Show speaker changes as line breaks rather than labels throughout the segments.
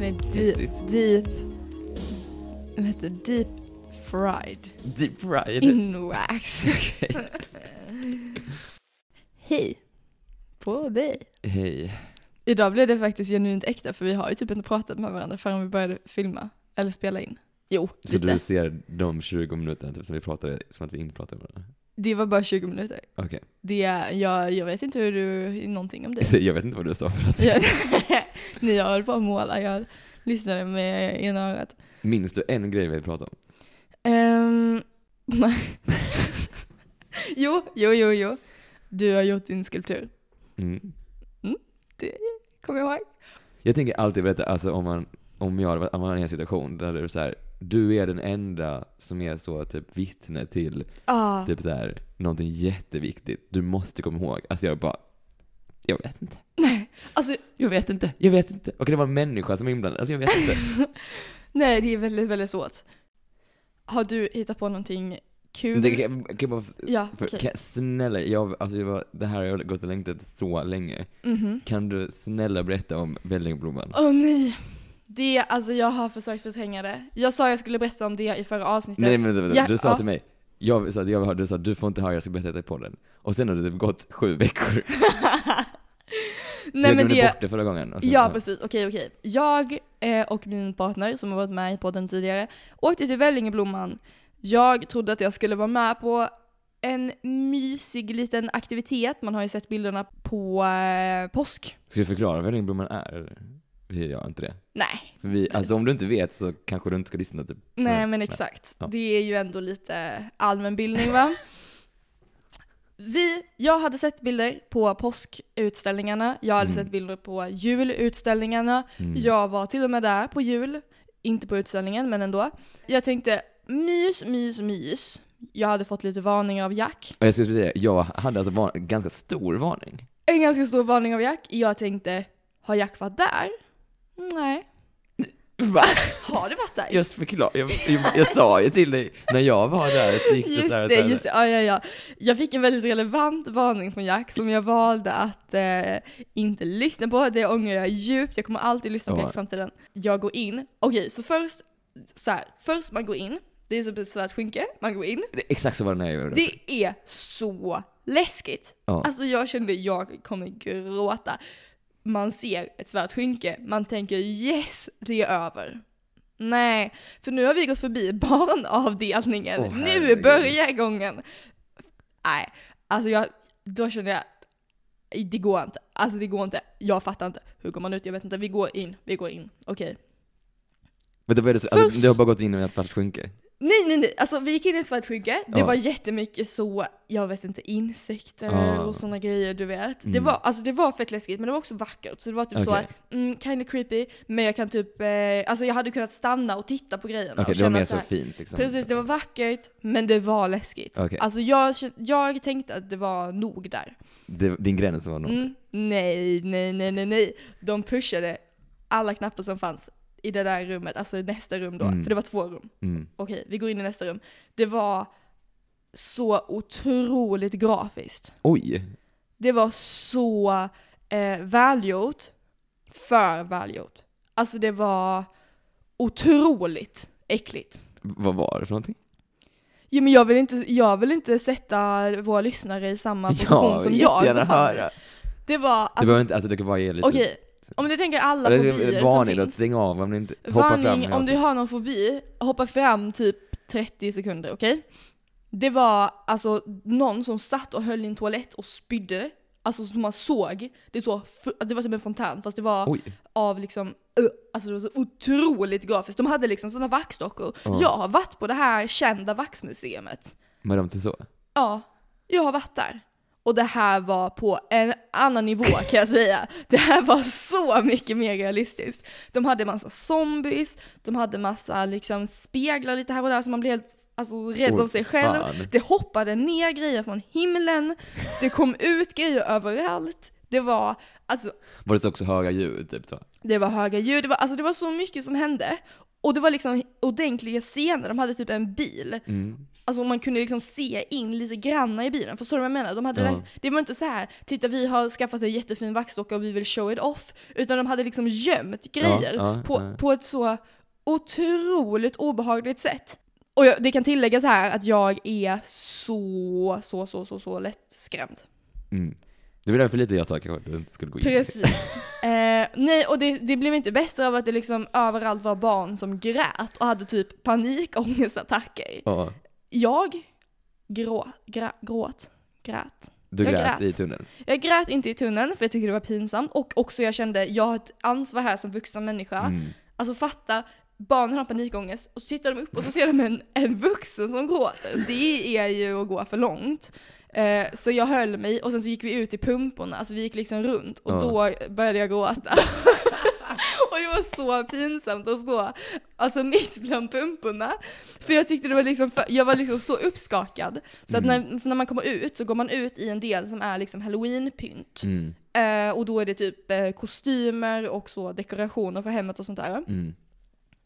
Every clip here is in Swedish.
riktigt.
Deep... Vad heter det? Deep fried
Deep fried.
in wax.
Okej.
Hej på dig.
Hej.
Idag blev det faktiskt genuint äkta för vi har ju typ inte pratat med varandra förrän vi började filma eller spela in. Jo,
Så
lite.
du ser de 20 minuterna typ som vi pratade, som att vi inte pratade med varandra?
Det var bara 20 minuter.
Okej.
Det, är- jag, jag vet inte hur du, någonting om det.
Jag vet inte vad du sa för att...
jag, nej, jag höll på att måla, jag lyssnade med ena örat.
Minns du en grej vi pratade om?
Ehm, nej. jo, jo, jo, jo. Du har gjort din skulptur,
Mm.
kommer jag ihåg.
Jag tänker alltid berätta, alltså om man, om jag hade varit- om man var i en situation där det är så här, du är den enda som är så typ vittne till
Ah.
typ så här, någonting jätteviktigt. Du måste komma ihåg. Alltså jag bara, jag vet inte.
Nej, alltså
Jag vet inte, jag vet inte. Och det var en människa som var inblandad. Alltså jag vet inte.
nej, det är väldigt, väldigt svårt. Har du hittat på någonting kul?
Det kan, kan jag bara,
Ja,
för,
okej.
kan, snälla, jag, alltså jag var, det här har jag gått och längtat så länge.
Mhm.
Kan du snälla berätta om vällingblomman?
Åh nej. Det, alltså jag har försökt förtränga det. Jag sa jag skulle berätta om det i förra avsnittet.
Nej men vänta, vänta.
Ja,
du sa
ja.
till mig, jag sa att jag vill ha, du sa du får inte höra, jag ska berätta det i podden. Och sen har det typ gått sju veckor.
nej men
jag glömde
det,
bort det förra gången. Alltså, Och sen,
ja precis, okej okej. Jag eh, och min partner som har varit med i podden tidigare åkte till Vällingblomman. Jag trodde att jag skulle vara med på en mysig liten aktivitet. Man har ju sett bilderna på eh, påsk.
Ska du förklara vad vällingblomman är? eller? Vi gör inte det.
Nej,
För vi, alltså om du inte vet så kanske du inte ska lyssna typ.
nej
Nej,
men
nej.
exakt.
Ja.
Det är ju ändå lite allmänbildning va? Vi, jag hade sett bilder på påskutställningarna, jag hade
Mm.
sett bilder på julutställningarna,
Mm.
Jag var till och med där på jul, inte på utställningen men ändå. Jag tänkte mys, mys, mys. Jag hade fått lite varningar av Jack.
Och jag skulle säga, jag hade alltså var, ganska stor varning.
En ganska stor varning av Jack. Jag tänkte, har Jack varit där? Nej.
Va?
Har du varit där?
Jag, förklar, jag, jag, jag sa ju till dig, när jag var där så gick det
Just
så här,
det,
så här,
just det. Ja, ja, ja. Jag fick en väldigt relevant varning från Jack som jag valde att eh, inte lyssna på. Det ångrar jag djupt. Jag kommer alltid lyssna på
Ja.
Jack i framtiden. Jag går in. Okej, så först så här. Först man går in. Det är som ett svart skynke. Man går in.
Det är Exakt så var det när jag gjorde.
Det är så läskigt.
Ja.
Alltså jag kände jag kommer gråta. Man ser ett svart skynke, man tänker yes, det är över. Nej, för nu har vi gått förbi barnavdelningen.
Åh,
nu
herregud.
börjar gången. Nej, alltså jag, då kände jag, det går inte. Alltså det går inte. Jag fattar inte. Hur går man ut? Jag vet inte. Vi går in, vi går in. Okej.
Men då var det så, alltså,
Först-
du har bara gått in i ett svart skynke.
Nej, nej, nej. Alltså vi gick in i ett svart skynke. Det
Ja.
var jättemycket så, jag vet inte, insekter
Ja.
och sådana grejer du vet. Det,
Mm.
var, alltså, det var fett läskigt men det var också vackert. Så det var typ så
Okej.
att, mm, kind of creepy, men jag kan typ, eh, alltså jag hade kunnat stanna och titta på grejerna.
Okej,
och
det var
känna
mer
att
så
här-
fint liksom.
Precis, det var vackert men det var läskigt.
Okej.
Alltså jag, kän- jag tänkte att det var nog där.
Det, din gräns var nog.
Mm. Nej, nej, nej, nej, nej. De pushade alla knappar som fanns i det där rummet, alltså i nästa rum då.
Mm.
För det var två rum
Mm.
okej, vi går in i nästa rum. Det var så otroligt grafiskt.
Oj!
Det var så eh, välgjort. För välgjort. Alltså det var otroligt äckligt.
Vad var det för någonting?
Jo, men jag, vill inte, jag vill inte sätta våra lyssnare i samma position som
vill
jag
jättegärna
befann mig.
höra.
Det var,
Du
alltså,
behöver inte, alltså du kan bara ge lite...
okej, om du tänker alla
Eller,
fobier som
Varning då,
finns.
stäng av om du inte... hoppa fram. alltså.
Varning
hela
om du
tiden.
har någon fobi, hoppa fram typ 30 sekunder, okej? Det var alltså någon som satt och höll i en toalett och spydde. Alltså som man såg. Det, så, fu- det var typ en fontän fast det var
Oj.
av liksom, ö, alltså det var så otroligt grafiskt. De hade liksom sådana vaxdockor.
Ja.
Jag har varit på det här kända vaxmuseet.
Men de så.
Ja, jag har varit där. Och det här var på en annan nivå kan jag säga. Det här var så mycket mer realistiskt. De hade massa zombies, de hade massa liksom speglar lite här och där så man blev helt alltså, rädd
Oj,
om sig själv.
fan.
Det hoppade ner grejer från himlen, det kom ut grejer överallt. Det var, alltså,
Var det så också höga ljud typ så?
det var höga ljud, det var, alltså, det var så mycket som hände. Och det var liksom ordentliga scener, de hade typ en bil
Mm.
Alltså man kunde liksom se in lite granna i bilen. Förstår du vad jag menar? De hade
Ja.
lagt, det var inte så här, titta vi har skaffat en jättefin vaxdocka och vi vill show it off. Utan de hade liksom gömt grejer
ja,
på,
ja.
på ett så otroligt obehagligt sätt. Och jag, det kan tilläggas här att jag är så, så, så, så, så lättskrämd.
Mm. Det var därför lite jag sa kanske att du inte skulle gå in i det.
Precis. eh, nej, och det, det blev inte bättre av att det liksom överallt var barn som grät och hade typ panikångestattacker.
Ja,
Jag grå, grä, gråt, grät.
du
Jag
grät,
grät.
i tunneln.
Jag grät inte i tunneln för jag tyckte det var pinsamt och också jag kände jag har ett ansvar här som vuxen människa.
Mm.
Alltså fatta, barnen har panikångest och så tittar de upp och så ser de en, en vuxen som gråter. Det är ju att gå för långt. Eh, så jag höll mig och sen så gick vi ut i pumporna, alltså vi gick liksom runt och
Ja.
då började jag gråta. och det var så pinsamt att stå alltså mitt bland pumporna. För jag tyckte det var liksom, för, jag var liksom så uppskakad. Så att
Mm.
när, för när man kommer ut så går man ut i en del som är liksom halloween-pynt.
Mm.
Eh, och då är det typ eh, kostymer och så dekorationer för hemmet och sånt där.
Mm.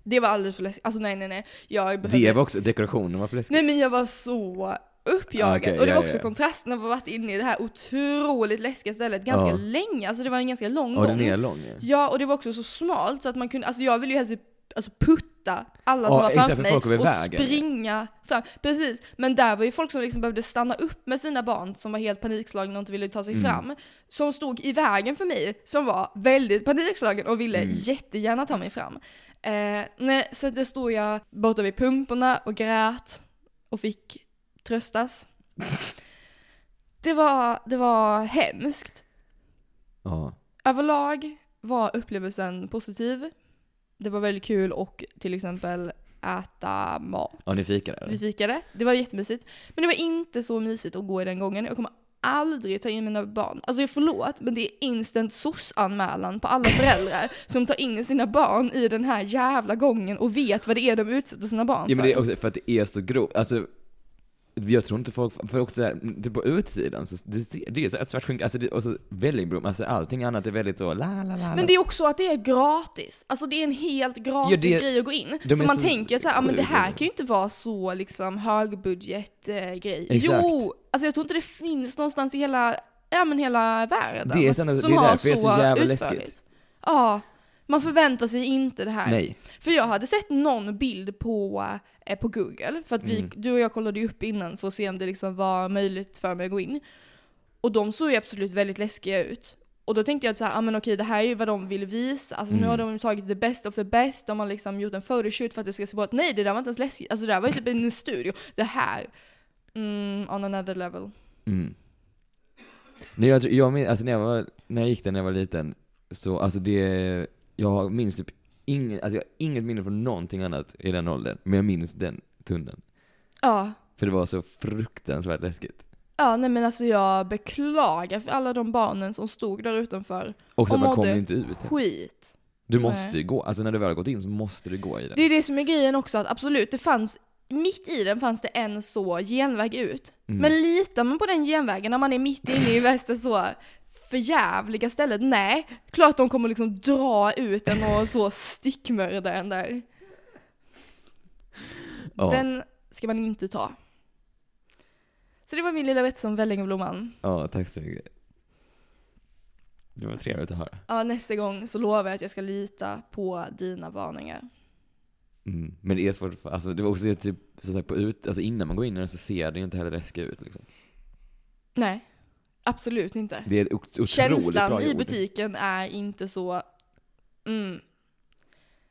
Det var alldeles för läskigt. Alltså nej nej nej. Jag behövde...
Det var också, dekorationen var för läskig.
Nej men jag var så uppjagad.
Okej,
och det
ja,
var
ja,
också
ja.
kontrasten av att ha varit inne i det här otroligt läskiga stället ganska
Ja.
länge. Alltså det var en ganska lång
Ja,
gång.
den är lång ju.
Ja och det var också så smalt så att man kunde, alltså jag ville ju helst alltså, putta alla som
Ja,
var
exakt,
framför
för
mig
folk över
och
vägen.
springa fram. Precis, men där var ju folk som liksom behövde stanna upp med sina barn som var helt panikslagna och inte ville ta sig
Mm.
fram. Som stod i vägen för mig som var väldigt panikslagen och ville
Mm.
jättegärna ta mig fram. Eh, nej, så att där stod jag borta vid pumporna och grät och fick tröstas. Det var, det var hemskt.
Ja.
Överlag var upplevelsen positiv. Det var väldigt kul och till exempel äta mat.
ja, ni fikade
Vi
där.
fikade, det var jättemysigt. Men det var inte så mysigt att gå i den gången. Jag kommer aldrig ta in mina barn. Alltså jag förlåt, men det är instant SOS-anmälan på alla föräldrar som tar in sina barn i den här jävla gången och vet vad det är de utsätter sina barn för.
Ja men det är också för att det är så grovt, alltså jag tror inte folk, för också såhär, typ på utsidan så det, ser- det är såhär svartskinka, alltså det, och så vällingbrom, alltså allting annat är väldigt så la la la, la.
Men det är också att det är gratis. Alltså det är en helt gratis
Ja, det-
grej att gå in.
de
Så
är
man
så
tänker så här, ja men det här
sjuka.
kan ju inte vara så liksom högbudgetgrej. Eh, grej."
Exakt.
Jo! Alltså jag tror inte det finns någonstans i hela, ja men hela världen.
Det är sant, det är därför det är så jävla läskigt.
Ja. Man förväntar sig inte det här.
Nej.
För jag hade sett någon bild på, eh, på Google, för att vi, du och jag kollade ju upp innan för att se om det liksom var möjligt för mig att gå in. Och de såg ju absolut väldigt läskiga ut. Och då tänkte jag så här, ah, men okej det här är ju vad de vill visa. Alltså nu har de ju tagit the best of the best, de har liksom gjort en photoshoot för att det ska se bra ut. Nej det där var inte ens läskigt, alltså det där var ju typ en studio. Det här, mm, on another level.
Mm. Nej jag, tror- jag minns, alltså när jag var, när jag gick där när jag var liten, så alltså det, jag minns typ ingen, alltså jag har inget minne från någonting annat i den åldern, men jag minns den tunneln.
Ja.
För det var så fruktansvärt läskigt.
Ja nej men alltså jag beklagar för alla de barnen som stod där utanför.
Och så
Och
att man
mådde
kom ju inte ut.
Skit.
Du måste ju gå, alltså när du väl har gått in så måste du gå i den.
Det är det som är grejen också, att absolut, det fanns, mitt i den fanns det en så genväg ut. Men litar man på den genvägen när man är mitt inne i värsta så förjävliga stället? Nej, klart de kommer liksom dra ut en och så styckmörda en där.
Ja.
Den ska man inte ta. Så det var min lilla berättelse om Vällingblomman.
Ja, tack så mycket. Det var trevligt att höra.
Ja, nästa gång så lovar jag att jag ska lita på dina varningar.
Mm. Men det är svårt, för- alltså det var också typ, så sagt, på ut, alltså innan man går in i den så ser det ju inte heller läskigt ut liksom.
Nej, absolut inte.
Det är ett ot- otroligt bra
Känslan i
gjort.
butiken är inte så... Mm,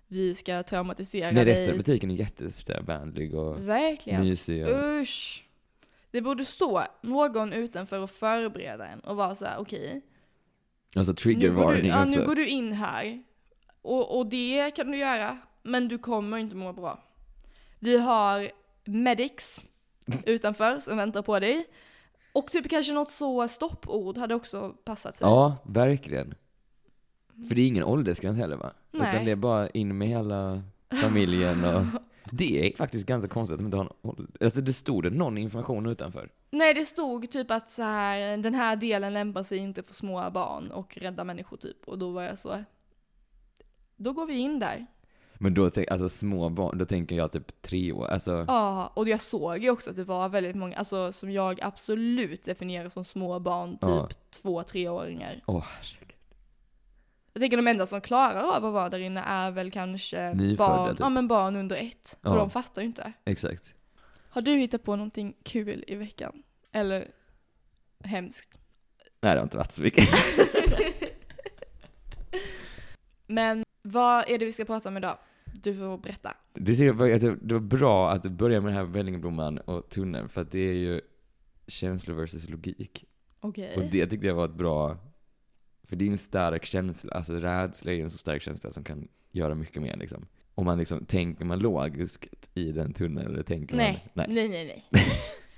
vi ska traumatisera
Nej, resten av
dig.
butiken är jättevänlig och
Mm, Verkligen.
mysig
Mm.
och...
Usch. Det borde stå någon utanför och förbereda en och vara så här: okej.
Alltså
nu, går du-
triggervarning
ja,
också.
nu går du in här. Och, och det kan du göra. Men du kommer inte må bra. Vi har medics utanför som väntar på dig. Och typ kanske något så stoppord hade också passat sig.
Ja, verkligen. För det är ingen åldersgräns heller va?
Nej.
Utan det är bara in med hela familjen och... Det är faktiskt ganska konstigt att de inte har någon ålder. Alltså det stod det någon information utanför?
Nej, det stod typ att så här, den här delen lämpar sig inte för små barn och rädda människor typ. Och då var jag så, då går vi in där.
Men då, tänk- alltså små barn, då tänker jag typ tre år. Alltså,
Ja, och jag såg ju också att det var väldigt många, alltså som jag absolut definierar som små barn, typ två, treåringar.
åh herregud.
Jag tänker de enda som klarar av att vara där inne är väl kanske
Nyfödda,
barn,
typ.
ja, men barn under ett, för
Ja.
de fattar ju inte.
Exakt.
Har du hittat på någonting kul i veckan? Eller hemskt?
Nej, det har inte varit så mycket.
Men vad är det vi ska prata om idag? Du får berätta.
Det, ser, jag- alltså, det var bra att börja med den här Vällingblomman och tunneln, för att det är ju känslor versus logik.
Okej.
Och det tyckte jag var ett bra... För det är en stark känsla, alltså rädsla är ju en så stark känsla som kan göra mycket mer liksom. Om man liksom, tänker man logiskt i den tunneln eller tänker
Nej,
man...
nej, nej, nej.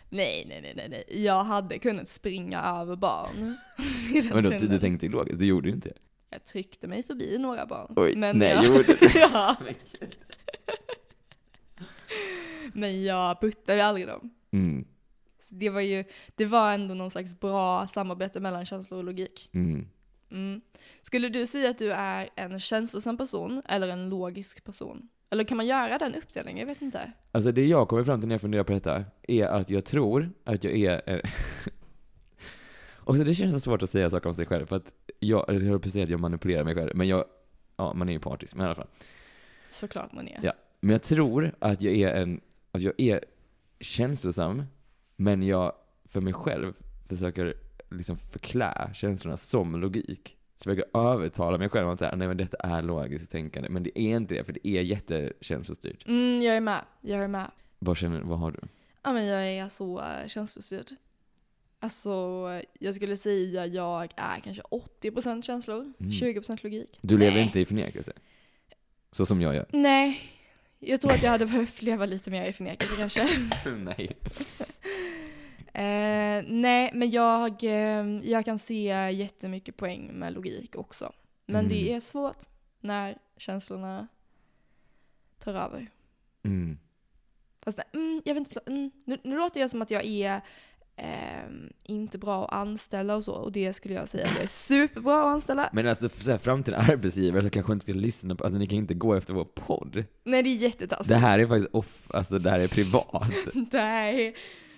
Nej, nej, nej, nej, nej. Jag hade kunnat springa över barn. i den
Men då, du,
tunneln.
du tänkte ju logiskt, du gjorde ju inte det.
Jag tryckte mig förbi några barn.
Oj,
men
nej,
jag...
gjorde
ja. Men jag puttade aldrig dem.
Mm,
Så det var ju, det var ändå någon slags bra samarbete mellan känslor och logik.
mm.
Mm. Skulle du säga att du är en känslosam person eller en logisk person? Eller kan man göra den uppdelningen? Jag vet inte.
Alltså det jag kommer fram till när jag funderar på detta är att jag tror att jag är... är- och så det känns så svårt att säga saker om sig själv för att jag, eller jag höll på att säga att jag manipulerar mig själv, men jag... Ja, man är ju partisk, men i alla fall.
Såklart man är.
Ja. Men jag tror att jag är en... Att jag är känslosam, men jag för mig själv försöker liksom förklä känslorna som logik. Så jag försöker övertala mig själv om att säga, nej men detta är logiskt tänkande, men det är inte det, för det är jättekänslostyrt.
Mm, jag är med. Jag är med.
Vad känner, vad har du?
Ja, men jag är så eh, känslostyrd. Alltså, jag skulle säga jag är kanske 80% känslor,
Mm.
20% logik.
Du lever
Nej.
inte i förnekelse? Så som jag gör?
Nej, jag tror att jag hade behövt leva lite mer i förnekelse kanske.
Nej.
Eh, nej, men jag, eh, jag kan se jättemycket poäng med logik också. Men
Mm.
det är svårt när känslorna tar över.
Mm.
Fast nej, mm, jag vet inte, mm, nu, nu låter jag som att jag är ehm, inte bra att anställa och så. Och det skulle jag säga att jag är superbra att anställa.
Men alltså så här, framtida arbetsgivare så kanske inte ska lyssna på, alltså ni kan inte gå efter vår podd.
Nej, det är jättetaskigt.
Det här är faktiskt off, alltså det här är privat.
Nej,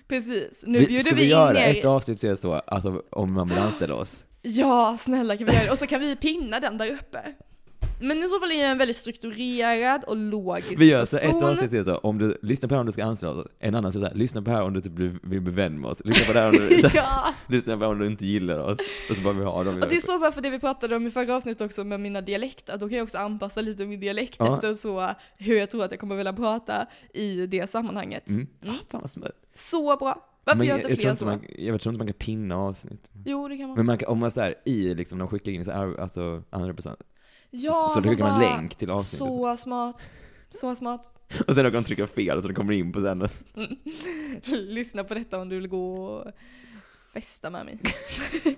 precis. Nu
Vi-
bjuder
ska
vi,
vi, göra
in er.
ett avsnitt så är det så, alltså om man vill anställa oss?
Ja, snälla kan vi göra det? Och så kan vi pinna den där uppe. Men i så fall är jag en väldigt strukturerad och logisk
Vi gör så
person.
ett avsnitt så är det så, om du, lyssna på det här om du ska anställa oss, en annan så är det så här, lyssna på det här om du typ blir- vill bli vän med oss, lyssna på det här om du, så här,
Ja,
lyssna på det här om du inte gillar oss, och så bara vi har dem i
och det är
den.
så bara för det vi pratade om i förra avsnittet också med mina dialekter, då kan jag också anpassa lite min dialekt
Ja.
efter så hur jag tror att jag kommer vilja prata i det sammanhanget.
Mm. Ah, fan vad smart.
Så bra! Varför
Men
gör
jag,
inte
jag, tror
fler
inte
så? Mm.
man, jag tror inte man kan pinna avsnitt.
Jo, det kan man.
Men man kan, om man så här, i liksom, de skickar in så här, alltså andra person,
ja,
så, så då skickar man
bara-
länk till avsnittet.
Så smart. Så smart.
Och sen råkar de trycka fel så de kommer in på sen. och-
Lyssna på detta om du vill gå och festa med mig.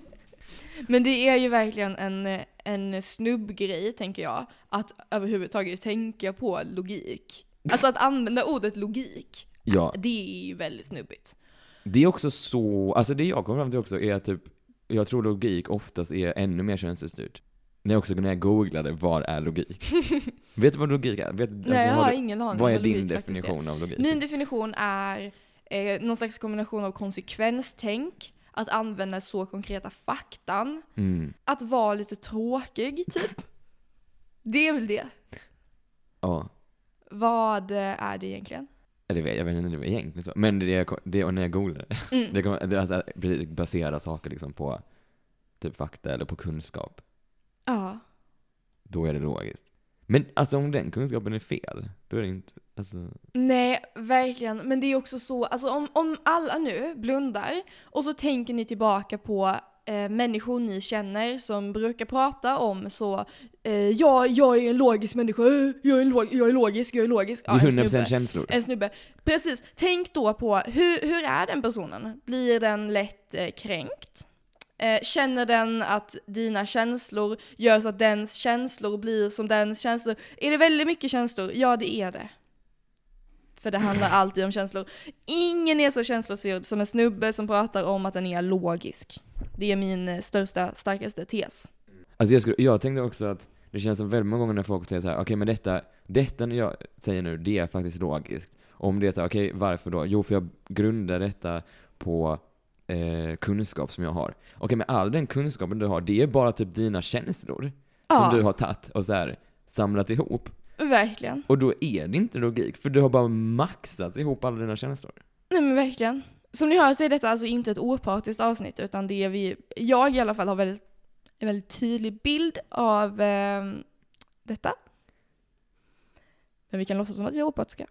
Men det är ju verkligen en, en snubbgrej, tänker jag, att överhuvudtaget tänka på logik. Alltså att använda ordet logik,
Ja,
det är ju väldigt snubbigt.
det är också så, alltså det jag kommer fram till också är att typ, jag tror logik oftast är ännu mer könsstyrt. När jag också när jag googlade, vad är logik? vet du vad logik är? Vet, alltså,
Nej, jag har
du-
ingen aning
vad är
vad logik
din
faktiskt är.
definition av logik?
Min definition är eh, någon slags kombination av konsekvenstänk, att använda så konkreta faktan,
Mm,
att vara lite tråkig, typ. Det är väl det.
ja,
Vad eh, är det egentligen?
eller vet, jag vet inte om det var egentligen så. Men det, är det, jag kom- det och när jag googlade,
Mm.
det, kom, det är alltså, precis, basera saker liksom på typ fakta eller på kunskap.
Ja.
då är det logiskt. Men alltså om den kunskapen är fel, då är det inte, alltså...
Nej, verkligen. Men det är också så, alltså om, om alla nu blundar och så tänker ni tillbaka på eh, människor ni känner som brukar prata om så, eh, ja, jag är en logisk människa, eh, jag är, en log- jag är logisk, jag är logisk.
Det
Ja,
är
en
100%
snubbe.
känslor.
En snubbe. Precis. Tänk då på, hur, hur är den personen? Blir den lätt eh, kränkt? Eh, känner den att dina känslor gör så att dens känslor blir som dens känslor? Är det väldigt mycket känslor? Ja, det är det. För det handlar alltid om känslor. Ingen är så känslostyrd som en snubbe som pratar om att den är logisk. Det är min eh, största, starkaste tes.
Alltså jag, skulle, jag tänkte också att Det känns som väldigt många gånger när folk säger så här, okej men detta, detta jag säger nu, det är faktiskt logiskt. Om det är så här, okej varför då? Jo för jag grundar detta på eh, kunskap som jag har. Okej men all den kunskapen du har, det är bara typ dina känslor
Ja,
som du har tagit och så här samlat ihop.
verkligen.
Och då är det inte logik, för du har bara maxat ihop alla dina känslor.
Nej men verkligen. Som ni hör så är detta alltså inte ett opartiskt avsnitt utan det är vi, jag i alla fall har väldigt, en väldigt tydlig bild av eh, detta. Men vi kan låtsas som att vi är opartiska.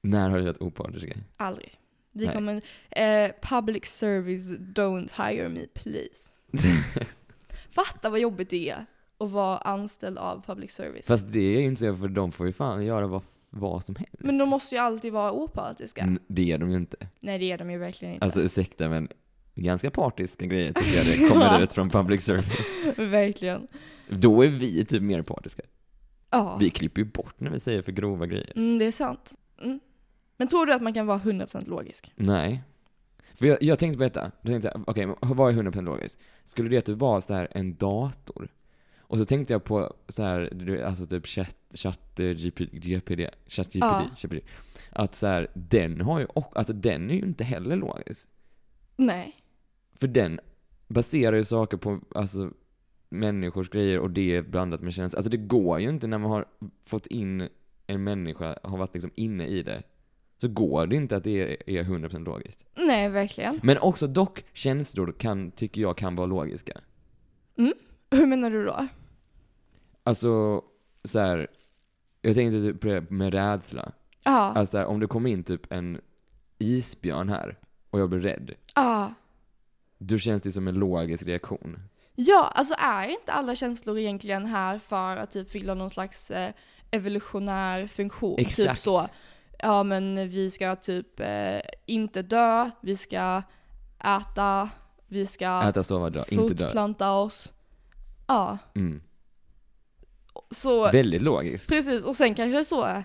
När har du varit opartisk?
Aldrig. Vi
Nej.
kommer, eh, public service don't hire me please. Fatta vad jobbigt det är att vara anställd av public service.
Fast det är ju inte så, för de får ju fan göra vad, vad som helst.
men de måste ju alltid vara opartiska.
N- Det är de ju inte.
Nej det är de ju verkligen inte.
Mm. Alltså ursäkta men ganska partiska grejer tycker jag det kommer ut från public service.
verkligen.
Då är vi typ mer partiska.
Ja.
Vi klipper ju bort när vi säger för grova grejer.
Mm, det är sant. Mm. Men tror du att man kan vara 100% logisk?
Nej. För jag, jag tänkte på detta. Då tänkte jag, okej, men vad är 100% logiskt? Skulle det typ vara så här en dator? Och så tänkte jag på så här, du- alltså typ chat, chat, eh, GP, GPD, chat GPD,
Ja.
GPD. Att så här, den har ju och, alltså den är ju inte heller logisk.
Nej.
För den baserar ju saker på, alltså människors grejer och det är blandat med känslor. Alltså det går ju inte när man har fått in en människa, har varit liksom inne i det. Så går det inte att det är, är 100% logiskt.
Nej, verkligen.
Men också dock, känslor kan, tycker jag kan vara logiska.
Hur menar du då?
Alltså, så här. Jag tänkte typ på det med rädsla.
Ja.
Alltså så här, om det kom in typ en isbjörn här och jag blir rädd.
Ja.
Då känns det som en logisk reaktion.
Ja, alltså är inte alla känslor egentligen här för att typ fylla någon slags eh, evolutionär funktion? Typ
Exakt.
så. Ja, men vi ska typ eh, inte dö, vi ska äta, vi ska
Äta, sova, dö. alltså, Inte dö.
fortplanta oss. Ja,
Mm.
så
Väldigt logiskt.
Precis, och sen kanske det är så.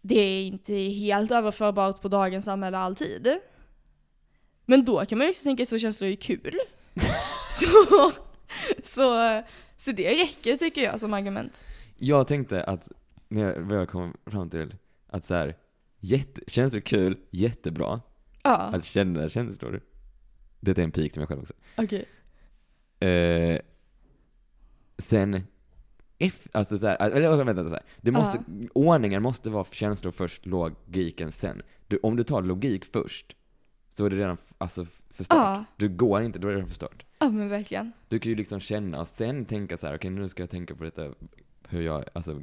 Det är inte helt överförbart på dagens samhälle alltid. Men då kan man ju också tänka så känslor är kul. så, så, så det räcker tycker jag som argument.
Jag tänkte att, när jag, vad jag kom fram till, att så här, jätte, känslor är kul, jättebra.
Ja,
Att känna känslor. Detta är en pik till mig själv också.
okej.
Eh, sen, if, alltså så här, eller vänta, vänta så här. Det måste, ordningen måste vara känslor först, logiken sen. Du, om du tar logik först, så är det redan f- alltså, f- förstört.
Ja,
Du går inte, då är det redan förstört.
ja men verkligen.
Du kan ju liksom känna, sen tänka så här, okej nu ska jag tänka på detta, hur jag, alltså,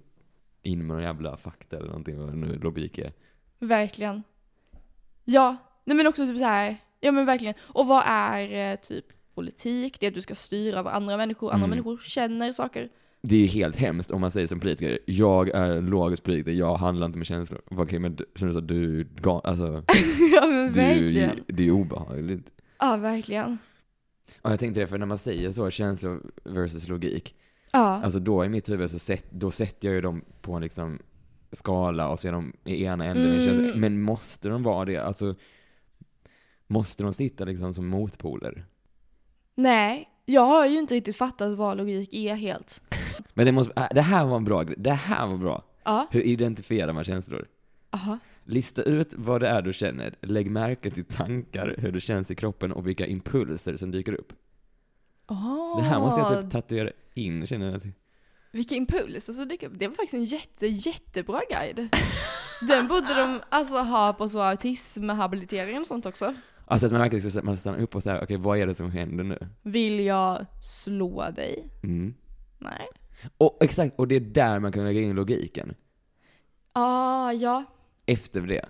in med någon jävla fakta eller någonting, vad nu logik är.
Verkligen. Ja, nej men också typ så här. Ja men verkligen. Och vad är eh, typ politik? Det är att du ska styra över andra människor. Andra
Mm.
människor känner saker.
Det är ju helt hemskt om man säger som politiker, jag är en logisk politiker, jag handlar inte med känslor. Okej men du, som du sa, du, är gal- alltså.
ja men
Det är, ju,
verkligen.
det är obehagligt.
Ja, verkligen.
Ja, jag tänkte det, för när man säger så, känslor versus logik,
Ja.
alltså då i mitt huvud så sätt, då sätter jag ju dem på en liksom skala och så är de i ena änden med
Mm.
känslor. Men måste de vara det? Alltså, måste de sitta liksom som motpoler?
Nej, jag har ju inte riktigt fattat vad logik är helt.
Men det, måste, äh, det här var en bra grej. Det här var bra.
Ja,
Hur identifierar man känslor?
aha.
Lista ut vad det är du känner. Lägg märke till tankar, hur det känns i kroppen och vilka impulser som dyker upp.
Oh,
Det här måste jag typ tatuera in, känner jag.
Vilka impulser som dyker upp. Alltså, Det var faktiskt en jätte, jättebra guide. Den borde de alltså ha på så autismhabilitering och sånt också.
Alltså att man verkligen ska man stannar upp och säga, okej vad är det som händer nu?
Vill jag slå dig?
Mm.
Nej.
Och exakt, och det är där man kan lägga in logiken.
Ah, ja.
Efter det.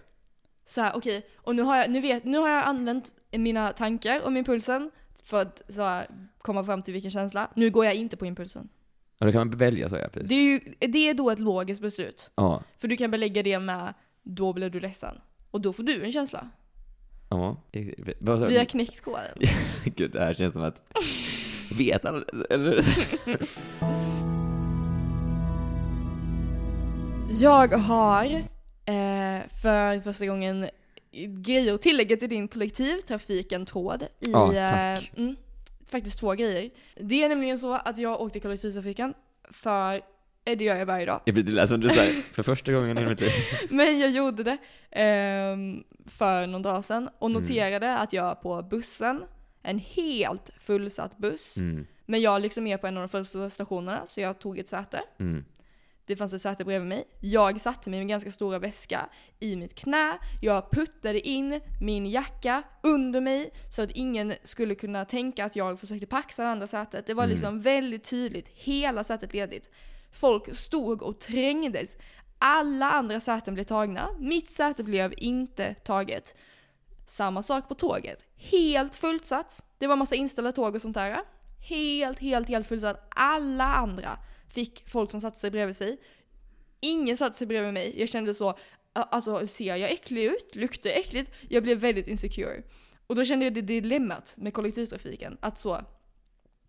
Så här, okej. Och nu har, jag, nu, vet, nu har jag använt mina tankar om impulsen för att så här, komma fram till vilken känsla. Nu går jag inte på impulsen.
Och då kan man välja så ja, precis.
Det är, ju, det är då ett logiskt beslut.
Ja.
För du kan belägga det med då blev du ledsen. Och då får du en känsla.
Ja. Vad sa
Vi har
du?
knäckt koden.
Gud, det här känns som att... Vet alla? Eller?
Jag har eh, för första gången grejer att tillägga till din kollektivtrafiken-tråd. I,
Ja, tack.
eh, mm, faktiskt två grejer. Det är nämligen så att jag åkte kollektivtrafiken för eh, det gör jag varje dag.
Jag blir det lät som du säger för första gången i mitt liv.
Men jag gjorde det ehm, för någon dag sedan och
Mm.
noterade att jag på bussen, en helt fullsatt buss,
Mm,
men jag liksom är på en av de första stationerna så jag tog ett säte.
mm,
Det fanns ett säte bredvid mig. Jag satte mig med ganska stora väska i mitt knä. Jag puttade in min jacka under mig så att ingen skulle kunna tänka att jag försökte paxa det andra sätet. Det var
Mm.
liksom väldigt tydligt, hela sätet ledigt. Folk stod och trängdes. Alla andra säten blev tagna. Mitt säte blev inte taget. Samma sak på tåget. Helt fullsatt. Det var massa inställda tåg och sånt där. Helt, helt, helt fullsatt. Alla andra fick folk som satte sig bredvid sig. Ingen satte sig bredvid mig. Jag kände så, alltså ser jag äcklig ut? Luktar jag äckligt? Jag blev väldigt insecure. Och då kände jag det dilemmat med kollektivtrafiken. Att så,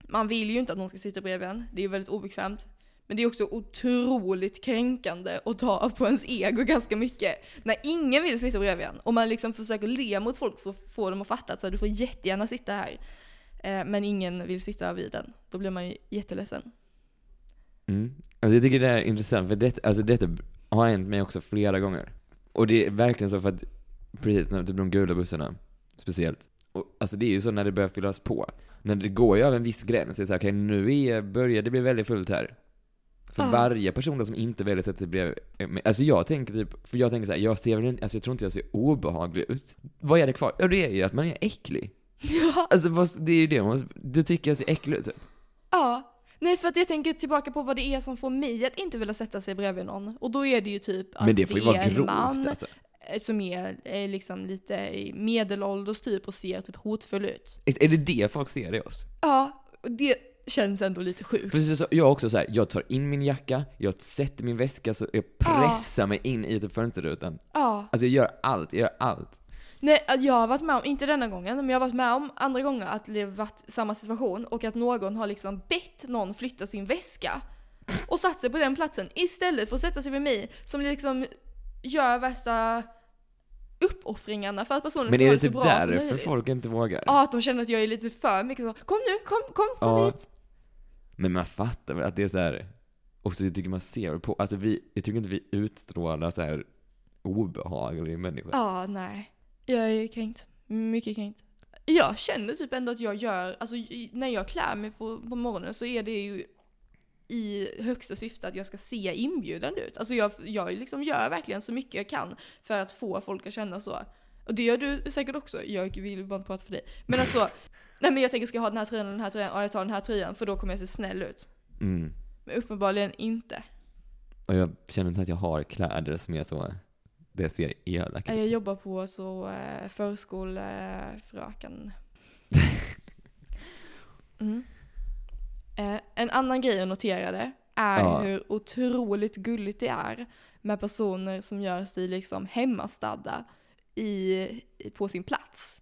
man vill ju inte att någon ska sitta bredvid en. Det är ju väldigt obekvämt. Men det är också otroligt kränkande att ta på ens ego ganska mycket. När ingen vill sitta bredvid en. Och man liksom försöker le mot folk för att få dem att fatta att så här, du får jättegärna sitta här. Eh, Men ingen vill sitta vid den. Då blir man ju jätteledsen.
mm. Alltså jag tycker det här är intressant, för det, alltså detta har hänt mig också flera gånger. Och det är verkligen så för att, precis, när typ de gula bussarna, speciellt. Och, alltså det är ju så när det börjar fyllas på. När det går ju över en viss gräns, det är så här, okej nu är, börjar det bli väldigt fullt här. För
Ja.
varje person som inte väljer att sätta sig bredvid, alltså jag tänker typ, för jag tänker så här, jag ser väl inte, alltså jag tror inte jag ser obehaglig ut. Vad är det kvar? Ja det är ju att man är äcklig.
Ja.
Alltså vad, det är ju det, man, du tycker jag ser äcklig ut typ.
Ja. Nej, för att jag tänker tillbaka på vad det är som får mig att inte vilja sätta sig bredvid någon. Och då är det ju typ att
Men det får ju
är
vara
en
grovt
man
alltså.
eh, som är eh, liksom lite i medelålders typ och ser typ hotfull ut.
Är det det folk ser i oss?
Ja, och det känns ändå lite sjukt.
Precis, så, jag också så här, jag tar in min jacka, jag sätter min väska, så jag pressar mig in i typ fönsterrutan.
Ja.
Alltså jag gör allt, jag gör allt.
Nej, jag har varit med om, inte denna gången, men jag har varit med om andra gånger att det har varit samma situation och att någon har liksom bett någon flytta sin väska och satt sig på den platsen istället för att sätta sig vid mig som liksom gör värsta uppoffringarna för att personen
Men
ska ha
är det
det så
typ
bra som
därför
möjligt.
folk inte vågar?
Ja, att de känner att jag är lite för mycket så, kom nu, kom, kom, kom
Ja.
hit.
Men man fattar väl att det är så här, och så tycker man ser på, alltså vi, jag tycker inte vi utstrålar så här obehagliga människor.
Ja, nej. Jag är kränkt. Mycket kränkt. Jag känner typ ändå att jag gör, alltså i- när jag klär mig på, på morgonen så är det ju i högsta syfte att jag ska se inbjudande ut. Alltså jag, jag liksom gör verkligen så mycket jag kan för att få folk att känna så. Och det gör du säkert också, jag vill bara inte prata för dig. Men att så, nej men jag tänker ska jag ha den här tröjan eller den här tröjan? Ja jag tar den här tröjan för då kommer jag se snäll ut.
Mm.
Men uppenbarligen inte.
Och jag känner inte att jag har kläder som är så, det ser elak
Eh, Jag
ut.
jobbar på så eh, förskolefröken. Mm. Eh, en annan grej jag noterade är
Ja.
hur otroligt gulligt det är med personer som gör sig liksom hemmastadda i, i- på sin plats.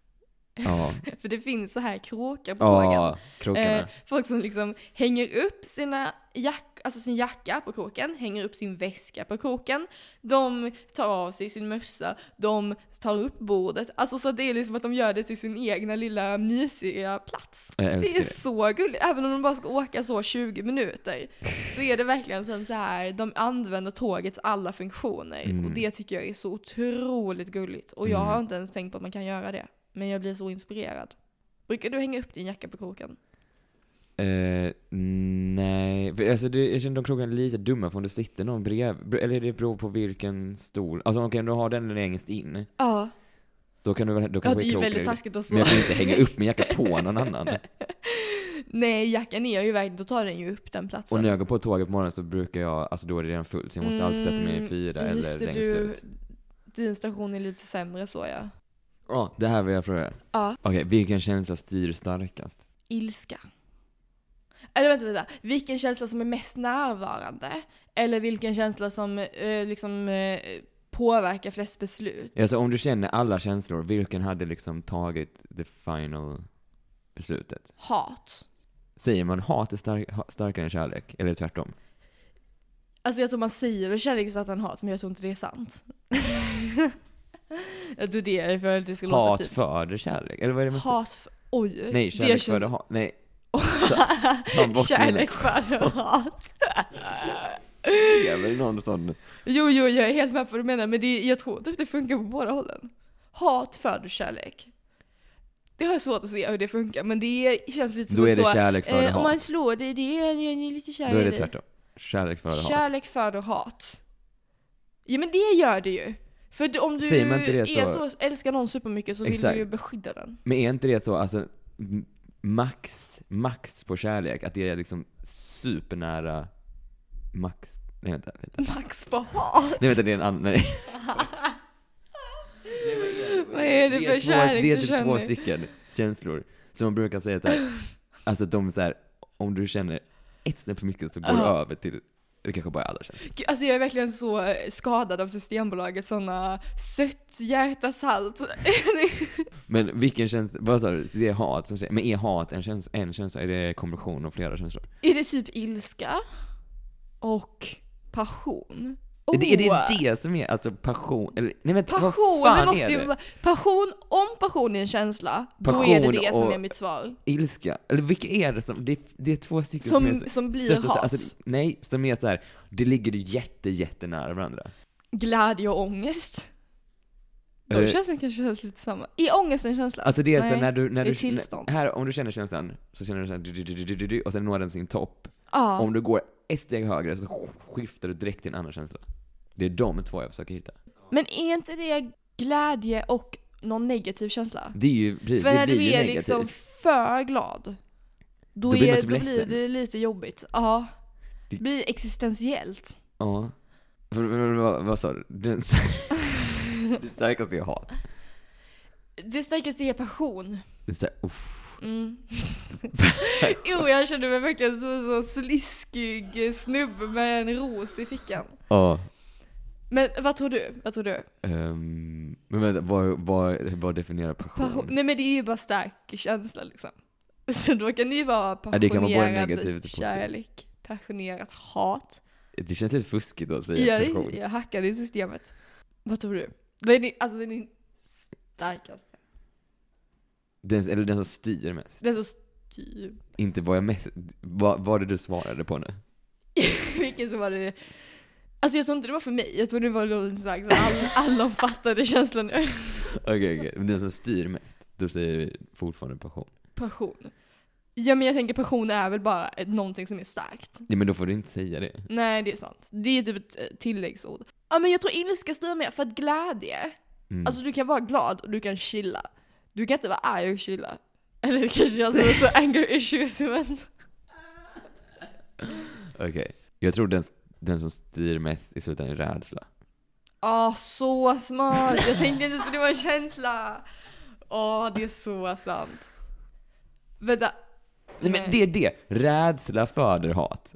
Ja,
För det finns så här kråkar på tågen.
ja krokarna.
Eh, folk som liksom hänger upp sina jack, alltså sin jacka på kroken, hänger upp sin väska på kroken. De tar av sig sin mössa, de tar upp bordet. Alltså så att det är liksom att de gör det till sin egna lilla mysiga plats.
Jag älskar
Det är
det.
så gulligt. Även om de bara ska åka så 20 minuter så är det verkligen som så här, de använder tågets alla funktioner.
Mm.
Och det tycker jag är så otroligt gulligt. Och jag har
Mm.
inte ens tänkt på att man kan göra det. Men jag blir så inspirerad. Brukar du hänga upp din jacka på kroken?
Eh, nej, För, alltså det, jag känner de krokarna är lite dumma för om det sitter någon bredvid, eller det beror på vilken stol. Alltså okej, om du har den längst in,
Ja.
då kan du väl då
Ja,
kanske
det är ju väldigt taskigt att
Men
så.
jag får inte hänga upp min jacka på någon annan.
Nej, jackan är ju verkligen, då tar den ju upp den platsen.
Och när jag går på tåget på morgonen så brukar jag, alltså då är det redan fullt så jag måste alltid sätta mig i
Mm,
fyra
Just
eller
det,
längst
du,
ut.
din station är lite sämre så ja.
Ja, det här vill jag fråga.
Ja,
Okej, vilken känsla styr starkast?
ilska. Eller vänta, vänta. Vilken känsla som är mest närvarande? Eller vilken känsla som eh, liksom eh, påverkar flest beslut?
Alltså om du känner alla känslor, vilken hade liksom tagit the final beslutet?
Hat.
Säger man hat är stark, ha- starkare än kärlek? Eller tvärtom?
Alltså jag tror man säger väl kärlek så att han hat, men jag tror inte det är sant. jag tror det är för att det ska låta
Hat
fint.
föder kärlek? Eller vad är det man säger?
Hat för... Oj.
Nej,
det
kärlek
känns-
föder hat. Nej. Ta bort
Kärlek, kvadrat.
Det är väl någon sån...
Jo, jo, jag är helt med på vad du menar, men det, jag tror typ det funkar på båda hållen. Hat föder kärlek. Det har jag svårt att se hur det funkar, men det känns lite som
Då är
en
det
så,
kärlek före
eh, Om man
hat.
slår dig, det är, det är lite kärlek
Då är det
i.
tvärtom. Kärlek före hat.
Kärlek föder hat. Ja men det gör det ju. För du- om du
Säger man inte det
är
så-
så... älskar någon supermycket så vill
Exakt.
du ju beskydda den.
Men är inte det så, alltså m- max, max på kärlek, att det är liksom supernära max... Nej vänta, vänta.
Max på hat!
Nej vänta, det är en annan... Nej.
Vad är det för
två,
kärlek
Det är
du
typ två
känner?
stycken känslor som man brukar säga att här, alltså att de så här, om du känner ett snäpp för mycket så går det
Ja.
över till, det kanske bara är alla känslor.
Gud, Alltså jag är verkligen så skadad av Systembolagets såna sött hjärta salt.
Men vilken känsla, vad sa du, det är hat som säger, men är hat en känsla, en känsla, är det kombination av flera känslor?
är det typ ilska? Och passion?
Är det, är
Åh.
det det som är alltså passion? Eller, nej men
Oh. Passion,
vad
det
fan
måste
är det?
ju vara... Passion, om passion är en känsla, då är det
Passion
det som
och-
är mitt svar.
Ilska? Eller vilka är det som, det, det är två stycken som,
Som,
är så,
som blir
största-
hat.
alltså, nej, som är så här, det ligger ju jätte, jättenära varandra.
glädje och ångest.
Är
De
det-
känslorna kanske känns lite samma. Är ångest en känsla?
Alltså det är så
Nej,
när du, när
det är
du,
tillstånd.
när- här om du känner känslan så känner du såhär du, du, du, du, du, du, och sen når den sin topp.
ja.
Om du går ett steg högre så skiftar du direkt till en annan känsla. Det är de två jag försöker hitta.
Men är inte det glädje och någon negativ känsla?
Det är ju, precis,
För
det
när
blir
du
ju
är
negativt.
liksom för glad, då,
Då blir
är,
man typ
då blir
ledsen.
det lite jobbigt. Ja.
Det-
Det blir existentiellt.
Ja. För, vad- vad, vad sa du? Den, det starkaste jag hat.
Det starkaste är passion.
Det är såhär, uff.
Mm. jo, jag kände mig verkligen som en sån sliskig snubbe med en ros i fickan.
Ja.
Men vad tror du? Vad tror du?
Ehm, men vänta, vad, vad, vad definierar passion?
Passion. Nej men det är ju bara stark känsla liksom. Så då kan det ju vara
Ja, det kan vara både
passionerad
negativt och positivt.
kärlek, passionerat hat.
Det känns lite fuskigt att säga passion.
Jag, jag hackade i systemet. Vad tror du? Vad är din, alltså, vad är din starkaste?
Den, eller den som styr mest.
Den som styr.
Inte vad jag mest, vad var det du svarade på nu?
Vilken så var det? Alltså jag tror inte det var för mig, jag tror det var någon slags all, allomfattande känsla nu.
Okej, okej. Men Den som styr mest, då säger vi fortfarande passion.
Passion. Ja men jag tänker passion är väl bara ett- någonting som är starkt.
Ja, men då får du inte säga det.
Nej, det är sant. Det är typ ett eh, tilläggsord. Ja, men jag tror ilska styr mer, för att glädje,
Mm.
alltså du kan vara glad och du kan chilla. Du kan inte vara arg och chilla. Eller det kanske jag som är så anger issues, men...
Okej. Jag tror den, den som styr mest i slutändan är rädsla.
Ah, så smart! Jag tänkte inte ens på det var en känsla! Åh, det är så sant. Vänta.
Nej, men
Nej.
det är det! Rädsla föder hat.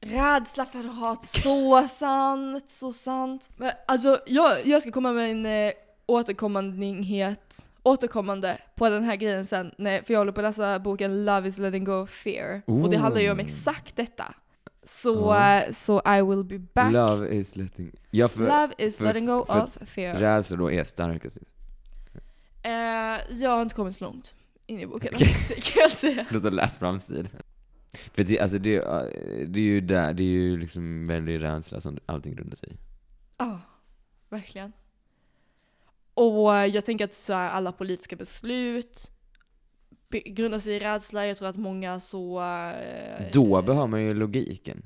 Rädsla för hat, så sant, så sant. Men alltså, jag, jag ska komma med en eh, återkommandighet, återkommande på den här grejen sen. Nej, för jag håller på att läsa boken Love is letting go of fear. Och det
Ooh.
handlar ju om exakt detta. Så,
Ja.
eh, så I will be back. Love,
Love is letting... Ja, för
is
för-
letting go
för-
of fear.
rädsla då är starkast.
Eh, jag har inte kommit så långt in i boken,
Okej.
det kan jag säga.
Låt oss läsa framsid. För det, alltså det, eh, det är ju där, det är ju liksom väldigt rädsla som allting grundar sig i.
Ja, verkligen. Och jag tänker att så här, alla politiska beslut be- grundar sig i rädsla. Jag tror att många så... eh,
Då behöver man ju logiken.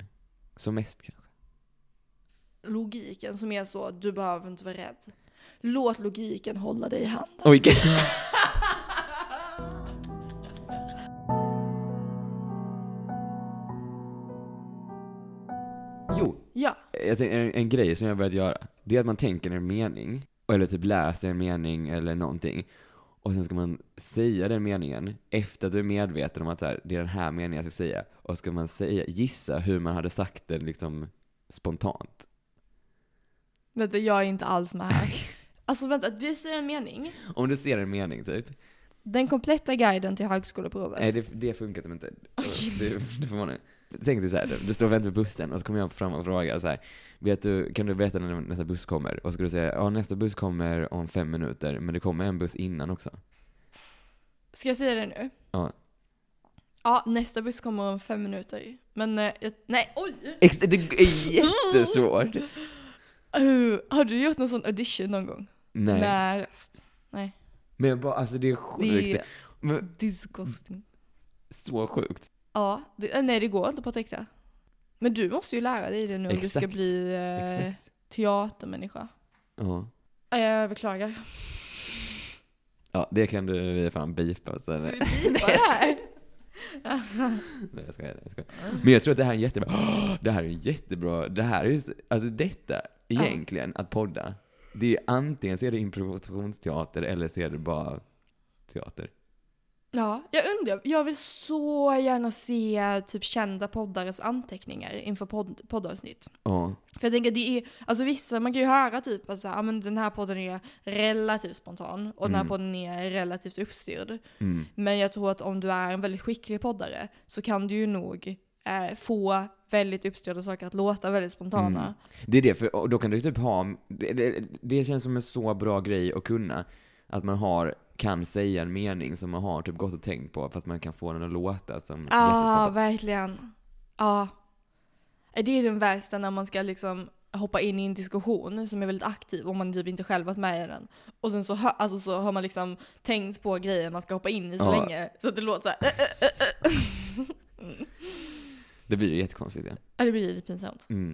Som mest kanske.
Logiken som är så, du behöver inte vara rädd. Låt logiken hålla dig i handen.
Oj! gud. Jo,
Ja,
jag tänkte, en, en grej som jag har börjat göra, det är att man tänker en mening, eller typ läser en mening eller någonting, och sen ska man säga den meningen efter att du är medveten om att så här, det är den här meningen jag ska säga, och ska man säga, gissa hur man hade sagt den liksom spontant.
vänta jag är inte alls med här. Alltså vänta, du säger en mening.
Om du ser en mening typ.
Den kompletta guiden till högskoleprovet.
Nej, det, det funkar typ inte. Det, det får man inte. Tänk dig så här, du står och väntar på bussen och så kommer jag fram och frågar så här, vet du, kan du berätta när nästa buss kommer? Och så ska du säga, ja nästa buss kommer om fem minuter, men det kommer en buss innan också.
Ska jag säga det nu?
Ja.
Ja, nästa buss kommer om fem minuter. Men eh, jag, nej, oj!
Ex- det är jättesvårt!
Uh, har du gjort någon sån audition någon gång?
Nej.
Med röst?
Men jag bara, alltså det är sjukt.
Det är
Men,
disgusting.
så sjukt.
Ja, det, eh, nej det går inte på att täcka. Men du måste ju lära dig det nu om du ska
Exakt.
bli eh,
Exakt.
teatermänniska.
Ja.
Ja, Jag beklagar.
ja, det kan du fan alltså. bipa. Så
Ska vi
nej,
bipa det här?
nej, jag skojar, jag skojar. Men jag tror att det här är jättebra. Det här är jättebra. Det här är ju, så- alltså detta,
Ja.
egentligen, att podda. Det är antingen så är det improvisationsteater eller så är det bara teater.
Ja, jag undrar. Jag vill så gärna se typ kända poddares anteckningar inför podd, poddavsnitt.
Ja.
För jag tänker det är, alltså vissa, man kan ju höra typ att alltså, men den här podden är relativt spontan och den här
Mm.
podden är relativt uppstyrd.
Mm.
Men jag tror att om du är en väldigt skicklig poddare så kan du ju nog eh, få väldigt uppstyrda saker att låta väldigt spontana.
Mm. Det är det, för och då kan du typ ha, det, det, det känns som en så bra grej att kunna. Att man har, kan säga en mening som man har typ gått och tänkt på, fast man kan få den att låta som
Ja, ah,
jättespontan.
verkligen. Ja. Eh, Det är den värsta när man ska liksom hoppa in i en diskussion som är väldigt aktiv och man typ inte själv varit med i den. Och sen så, hö- alltså så har man liksom tänkt på grejen man ska hoppa in i så
Ja.
länge så att det låter så här. "Äh, äh, äh, äh."
Det blir ju jättekonstigt ja.
Ja, det blir lite pinsamt.
Mm.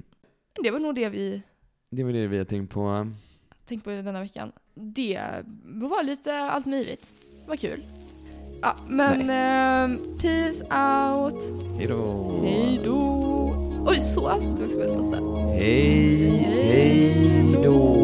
Men Det var nog det vi
Det var det vi har tänkt på.
tänkt på denna veckan. Det var lite allt möjligt. Vad kul. Ja, men ehm, peace out.
Hejdå!
Hej då. Oj, så avslutar vi också väldigt ofta.
Hej, hej då!